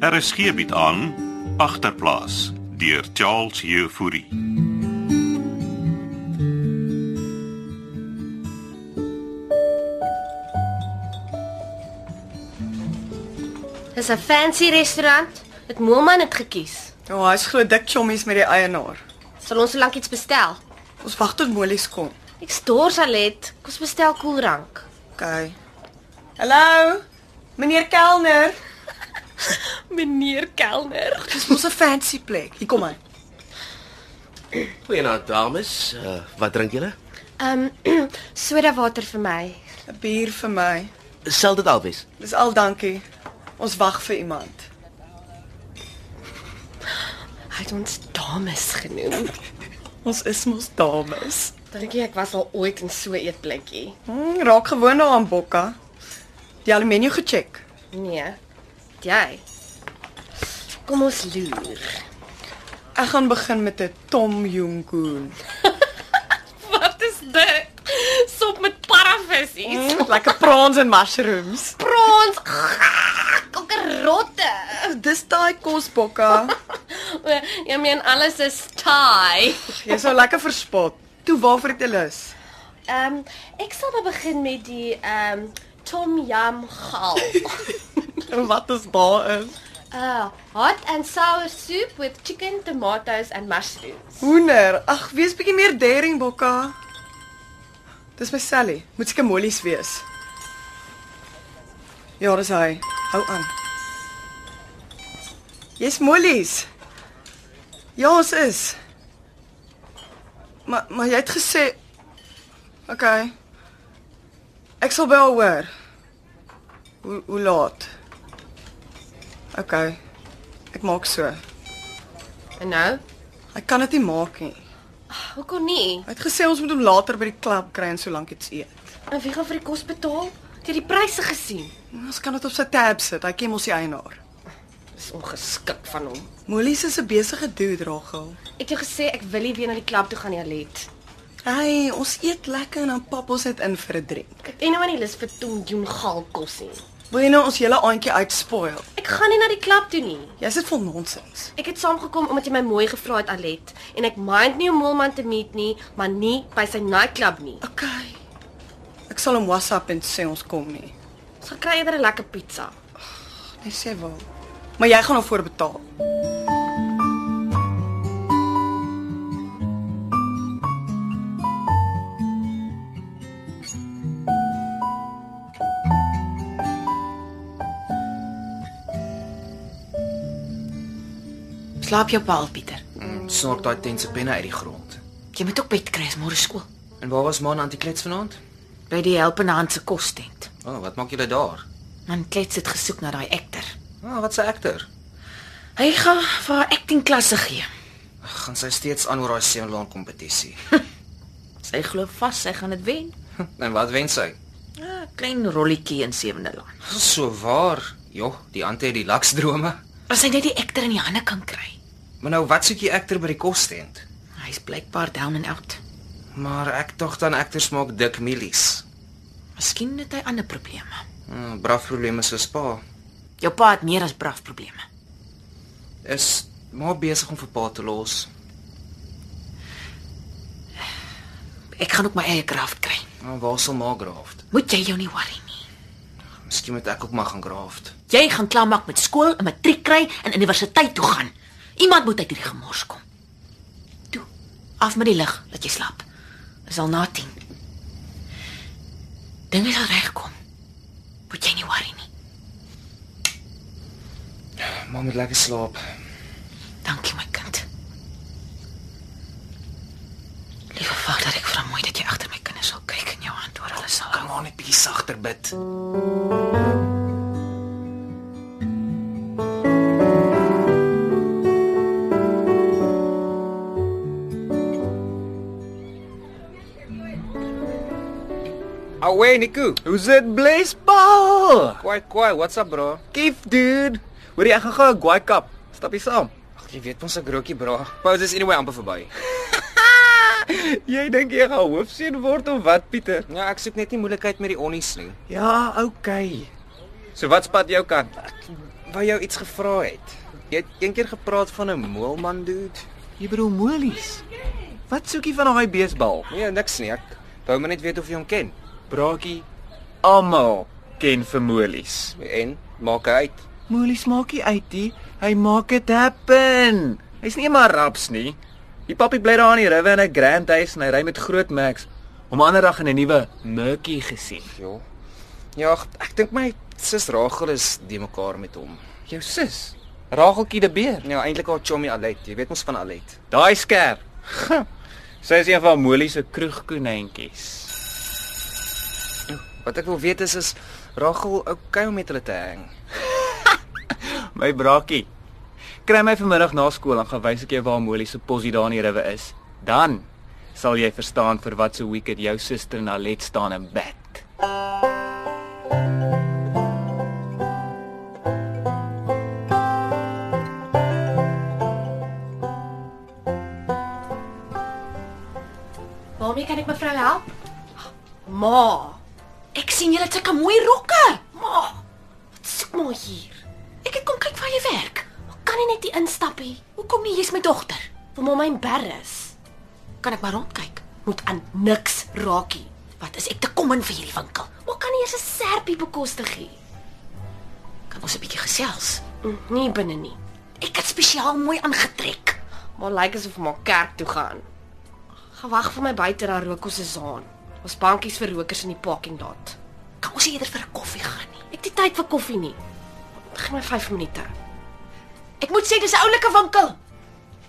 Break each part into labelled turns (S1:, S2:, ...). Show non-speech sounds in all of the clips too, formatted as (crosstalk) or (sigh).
S1: RSG bied Er aan agterplaas deur Charles Jefouri.
S2: Dis 'n fancy restaurant. Dit Moelman het gekies.
S3: Ja, oh, hy's glo dik chommies met die eienaar.
S2: Sal ons so lank iets bestel?
S3: Ons wag tot Molies kom.
S2: Ek stort salet. Kom ons bestel koelrank.
S3: OK. Hallo. Meneer kelner.
S2: Meneer kelner.
S3: Dis mos 'n fancy plek. Hier kom hy.
S4: Goeienaand dames. Uh, wat drink julle?
S2: Ehm (clears throat) um, soda water vir my.
S3: 'n Bier vir my.
S4: Sal dit al wees?
S3: Dis al dankie. Ons wag vir iemand.
S2: Hy het ons dames genoem.
S3: Ons is mos dames.
S2: Dink jy ek was al ooit in so 'n eetplekkie?
S3: Hmm, raak gewoon daaraan bokka. Die aluminium gecheck.
S2: Nee. Jy. Kom ons loer.
S3: Ek gaan begin met 'n Tom Yum Goon.
S2: Wat is dit? Sop met paravissies.
S3: Mm, lekker prawns en mushrooms.
S2: Prawns. Kokkerotte.
S3: Dis daai kos bokka.
S2: Ek meen alles is taai.
S3: Jy sou lekker verspot. Toe waarvoor het jy lus?
S2: Ehm um, ek sal maar begin met die ehm um, tom yum gal. (laughs)
S3: En wat is daarin?
S2: Uh, hot and sour soup with chicken, tomatoes and mushrooms.
S3: Hoender. Ag, wees bietjie meer daring bokka. Dis my Sally. Moet seker molies wees. Ja, dis hy. Hou aan. Jy's molies. Ja, ons is. Maar maar jy het gesê OK. Ek sal by haar hoor. Hoe hoe laat? OK. Ek maak so.
S2: En nou?
S3: Ek kan dit nie maak nie.
S2: Hoekom nie?
S3: Hy het gesê ons moet hom later by die klub kry en solank iets eet.
S2: En wie gaan vir die kos betaal? Het jy die pryse gesien?
S3: Ons kan dit op sy tab sit. Hy ken mos die eienaar.
S2: Dis ongeskik van hom.
S3: Molies is 'n besige dude, Rachel.
S2: Ek het jou gesê ek wil nie weer na die klub toe gaan nie, Alet.
S3: Hey, ons eet lekker en dan pap ons net in vir 'n drink.
S2: Ek en nou aan die lys vir Tom Joen gal kos nie.
S3: Wil jy nou ons hele aandjie uitspoil?
S2: Ek gaan nie na die klub toe nie.
S3: Jy sit vol nonsens.
S2: Ek het saamgekom omdat jy my mooi gevra het, Alet, en ek mind nie om Moelman te meet nie, maar nie by sy nightclub nie.
S3: OK. Ek sal hom WhatsApp en sê ons kom nie.
S2: Ons gaan kry eerder 'n lekker pizza.
S3: Net sê wel. Maar jy gaan daarvoor betaal.
S5: Slaap jou paal, Pieter.
S4: Snork daai tent se penne uit die grond.
S5: Jy moet ook bed kry, is môre skool.
S4: En waar was man antiklets vanaand?
S5: By die helpende hand se kos tent.
S4: O, oh, wat maak julle daar?
S5: Man klets het gesoek na daai ekter.
S4: O, oh, wat 'n akter.
S5: Hy gaan vir haar acting klasse gee.
S4: Gaan sy steeds aan oor daai seelaan kompetisie.
S5: Sy glo vas sy gaan dit wen.
S4: en wat wen sy?
S5: 'n ah, Klein rolletjie in Sewende Land.
S4: So waar. Jo, die ante het die laksdrome.
S5: As hy net die ekter in die hande kan kry.
S4: Maar nou wat soek jy akter by die kostent?
S5: Hy's blykbaar down and out.
S4: Maar ek tog dan akters maak dik milies.
S5: Miskien het hy ander probleme.
S4: Hmm, Braaf probleme so spa.
S5: Jou pa het meer as braaf probleme.
S4: Is maar besig om vir pa te los.
S5: Ek gaan ook my eie graaf kry.
S4: Nou, waar sal maar graft?
S5: Moet jy jou nie worry nie.
S4: Miskien moet ek ook maar gaan graft.
S5: Jy gaan klaarmaak met skool, 'n matriek kry en universiteit toe gaan. Iemand moet uit hierdie gemors kom. Toe, af met die lig, laat jy slaap. Dis al na 10. Dinge sal regkom. Moet jy nie worry nie.
S4: Maar moet lekker slaap.
S5: Dankie my kind. Liewe Vader, dat ek vermoei dat jy agter my kinders sal kyk en jou hand oor hulle sal hou.
S4: maar net bietjie sagter bid. Away, Nico.
S6: Who's it, Blaze Paul?
S4: Kwaai, kwaai, what's up, bro?
S6: Kief, dude. Hoorie, ek gaan gou 'n guai kap. Stap hier saam.
S4: Ag, jy weet ons se grokkie, bro. Pause is anyway amper verby.
S6: (laughs) Jy dink jy gaan hoofseun word of wat, Pieter?
S4: Ja, ek soek net nie moeilikheid met die onnies nie.
S6: Ja, okay. So wat spat jou kant?
S4: wou jou iets gevra het. Jy het eendag gepraat van 'n moelman dude.
S6: Jy bedoel molies. Wat soek jy van daai beesbal?
S4: Nee, niks nie. Ek wou maar net weet of jy hom ken.
S6: Braakie almal ken vir molies.
S4: En maak hy uit.
S6: Molies maak nie uit nie. Hy maak dit happen. Hy's nie maar raps nie. Die pappie bly daar in die river in 'n grand huis en hy ry met groot Max. Hom ander dag in 'n nuwe Merkie gesien.
S4: Ja. Ja, ag, ek dink my sis Rachel is die mekaar met hom.
S6: Jou sus, Rageltjie die beer.
S4: Ja, eintlik haar chommy Alet. Jy weet mos van Alet.
S6: Daai sker. (laughs) Sy is een van Molie se kroegkonynkies.
S4: Wat ek wil weet is is Rachel okay om met hulle te hang?
S6: My braakie. Kry my vanmiddag na skool en gaan wys ek jou waar Molie se posie daar in die riwe is. Dan sal jy verstaan vir wat so week het jou suster na let staan in bed.
S2: Waarmee kan ek mevrou help? Ma,
S5: Ek sien julle het sulke mooi rokke.
S2: ma. Wat soek maar hier?
S5: Ek het kom kyk waar jy werk.
S2: Hoe kan jy net hier instap hê?
S5: Hoekom nie jy's my dogter?
S2: Vir my my embarrass.
S5: Kan ek maar rondkyk?
S2: Moet aan niks raakie.
S5: Wat is ek te kom in vir hierdie winkel?
S2: Maar kan nie eers 'n serpie bekostig nie.
S5: Kan ons 'n bietjie gesels?
S2: Mm, Nie binne nie.
S5: Ek het spesiaal mooi aangetrek.
S2: Maar lyk asof ek maar kerk toe gaan. Gewag vir my buite daar rook ons 'n zaan. Ons bankies vir rokers in die parking lot.
S5: Kan ons nie eerder vir 'n koffie gaan nie?
S2: Ek het nie tyd vir koffie nie. Begin my 5 minute.
S5: Ek moet sê dis 'n oulike winkel.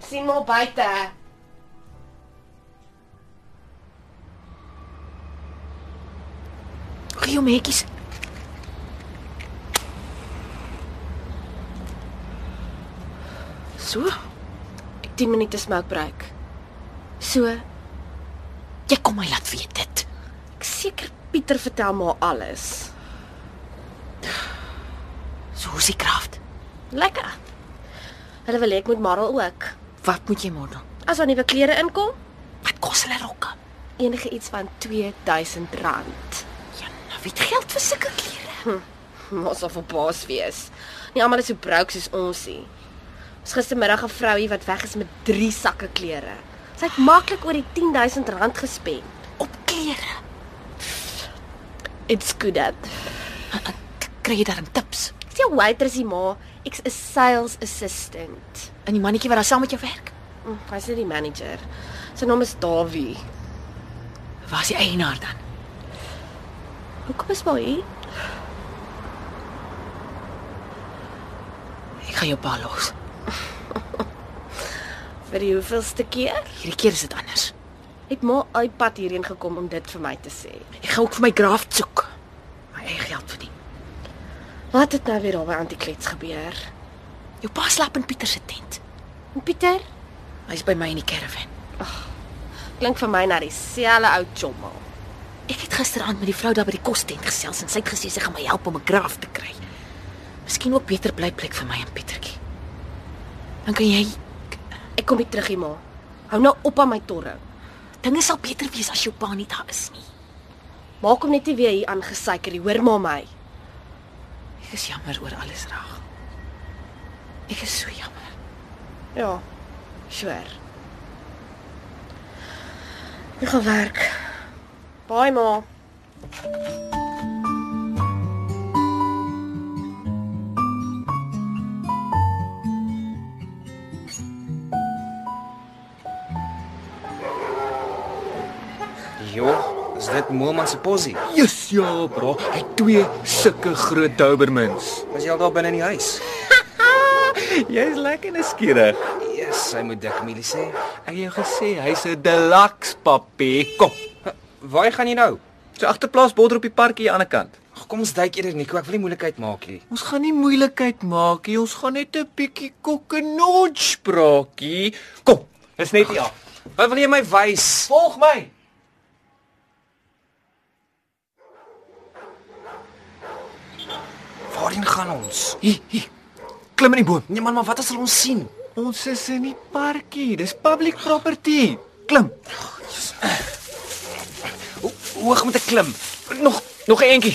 S2: Sien maar buite.
S5: Gio metjies.
S2: So. Ek 10 minute smoke break. So, ek
S5: Jy kom my laat weet dit.
S2: seker Pieter vertel maar alles.
S5: Susie Kraft.
S2: Lekker. Hulle wil hê ek moet Marel ook.
S5: Wat moet jy maar doen?
S2: As daar nuwe klere inkom,
S5: Wat kos hulle rokke?
S2: enige iets van R2000.
S5: Jan, wie het Ja, nou geld vir sulke klere?
S2: Hm, Ons sal verbaas wees. Nie almal is so broke soos ons nie. Ons gistermiddag 'n vrouie wat weg is met 3 sakke klere. Sy het maklik oor die R10000 gespend.
S5: Op klere.
S2: It's good at.
S5: Kry jy daarin tips?
S2: Ek's jou waitressie ma. Ek's 'n sales assistant.
S5: En die mannetjie wat daar saam met jou werk?
S2: Mm, Hy's net die manager. Sy naam is Dawie.
S5: Waar's die eienaar dan?
S2: Hoekom is hy hier?
S5: Ek gaan jou pa los.
S2: Vir die hoeveelste keer?
S5: Hierdie keer is dit anders.
S2: Het ma iPad hierheen gekom om dit vir my te sê.
S5: Ek gaan ook vir my Kraft soek. My eie geld verdien.
S2: Wat het nou weer daar by Antiklets gebeur?
S5: Jou pa slaap in Pieter se tent.
S2: En Pieter
S5: Hy's by my in die caravan.
S2: klink vir my na dieselfde ou chommel.
S5: Ek het gisteraand met die vrou daar by die kostent gesels en sy het gesê sy gaan my help om 'n graaf te kry. Miskien ook beter blyplek vir my en Pietertjie. Dan kan jy
S2: Ek kom nie terug hier maar. Hou nou op aan my torre.
S5: dinge sal beter wees as jou pa nie daar is nie.
S2: Maak hom net nie weer hier aangesuiker nie. Hoor maar my.
S5: Ek is jammer oor alles raag. Ek is so jammer.
S2: Ja. Swer. Ek gaan werk. Baie maar.
S4: Jo, is dit Moelman se posie?
S6: Jesus ja, bro. Hy twee sulke groot Dobermans.
S4: Was jy al daar binne in die huis?
S6: Jy's lekker nuuskierig.
S4: Yes, hy moet dik mielie sê.
S6: Ek het jou gesê hy's 'n deluxe papie. Kom.
S4: Waar gaan jy nou?
S6: Sy agterplaas border op die parkie aan die ander kant.
S4: Ag, kom ons duik eerder Nico, ek wil nie moeilikheid maak nie.
S6: Ons gaan nie moeilikheid maak nie. Ons gaan net 'n bietjie kokkenot spraakie. Kom, is net hier af.
S4: Wat wil jy my wys?
S6: Volg my.
S4: Waarheen gaan ons?
S6: Hier, hier. Klim in die boom.
S4: Nee man, maar wat as hulle ons sien?
S6: Ons is in die parkie. Dis public property. Klim.
S4: Hoe hoog moet ek klim?
S6: Nog nog eentjie.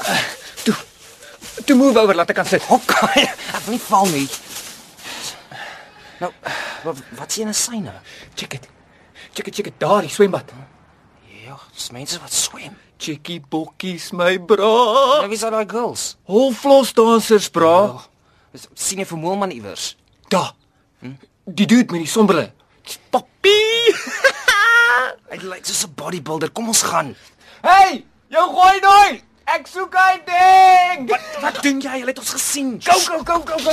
S6: Uh, toe.
S4: Eh, Toe move oor, laat ek kan sit. Hokkai. (laughs) Ek wil nie val nie. Nou, wat wat sien 'n syne?
S6: Check dit. Check dit, check dit. Daar, die swembad.
S4: Ja, dis mense wat swem.
S6: Chickie bokkies my bra.
S4: Nou wie sal daai girls?
S6: Holflos dansers bra.
S4: Dis sien 'n vermoë man iewers.
S6: Da. Die dude met die sombrille. Papie.
S4: Hy lyk soos 'n bodybuilder. Kom ons gaan.
S6: Hey, jou gooi daai. Ek soek hy ding.
S4: Wat doen jy? Hulle het ons gesien.
S6: Go go go go go.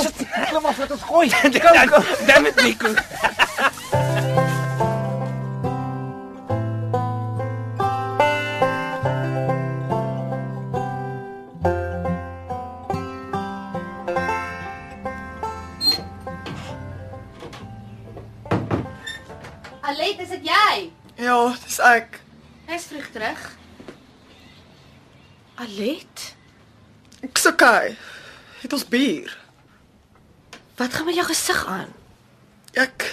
S6: Klim af, laat ons
S4: (laughs)
S6: gooi. Go go.
S4: Damn it, Nico.
S2: Alet, is dit jy?
S3: Ja, dis ek.
S2: Hy's vroeg terug. Alet,
S3: Ek's okay. Het ons bier.
S2: wat gaan met jou gesig aan?
S3: Ek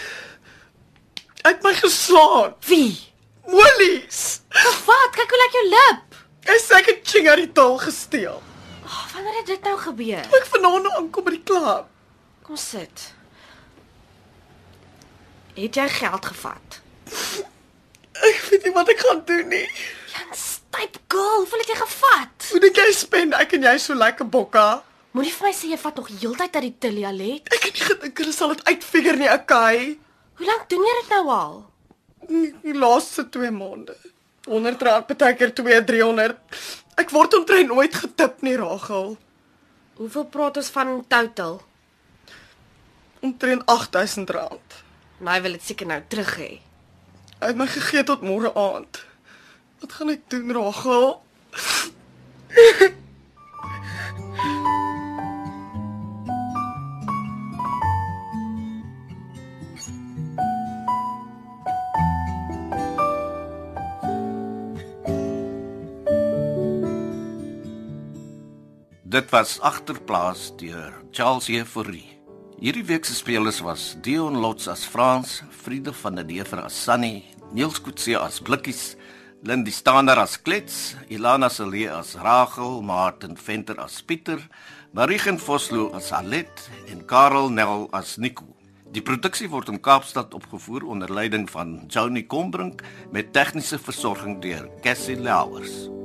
S3: ek my geslaan.
S2: Wie?
S3: Molies.
S2: Of wat? Kyk hoe lyk jou lip.
S3: Hy sê ek het ching uit die taal gesteel.
S2: Oh, wanneer het dit nou gebeur?
S3: Toe Ek vanaand aankom by die klub.
S2: Kom sit. Het jy geld gevat?
S3: Ek weet nie wat ek gaan doen nie.
S2: Jan Styp girl, hoeveel het jy gevat?
S3: Hoe dink jy spen ek en jy so lekker bokka?
S2: Moenie vir my sê jy vat nog heeltyd uit die tillie, Alet.
S3: Ek het nie gedink hulle sal dit uitfigure nie, okay?
S2: Hoe lank doen jy dit nou al?
S3: Die die laaste 2 maande. 100 rand baie keer 2 300. Ek word omtrent nooit getip nie, Ragel.
S2: Hoeveel praat ons van total?
S3: Omtrent 8000 rand.
S2: Nou wil dit seker nou terug hê.
S3: Hy het my gegee tot môre aand. Wat gaan ek doen, Ragel?
S1: Dit was agterplaas deur Charles Euphorie. Hierdie week se spelers was Dion Lots as Frans, Friede van der Neever as Sunny, Niels Kutse as Blikkies, Lindie Stander as Klets, Ilana Cele as Rachel, Martin Venter as Pieter, Marigen Vosloo as Alet en Karel Nel as Nico. Die produksie word in Kaapstad opgevoer onder leiding van Johnny Combrink met tegniese versorging deur Cassie Louwers.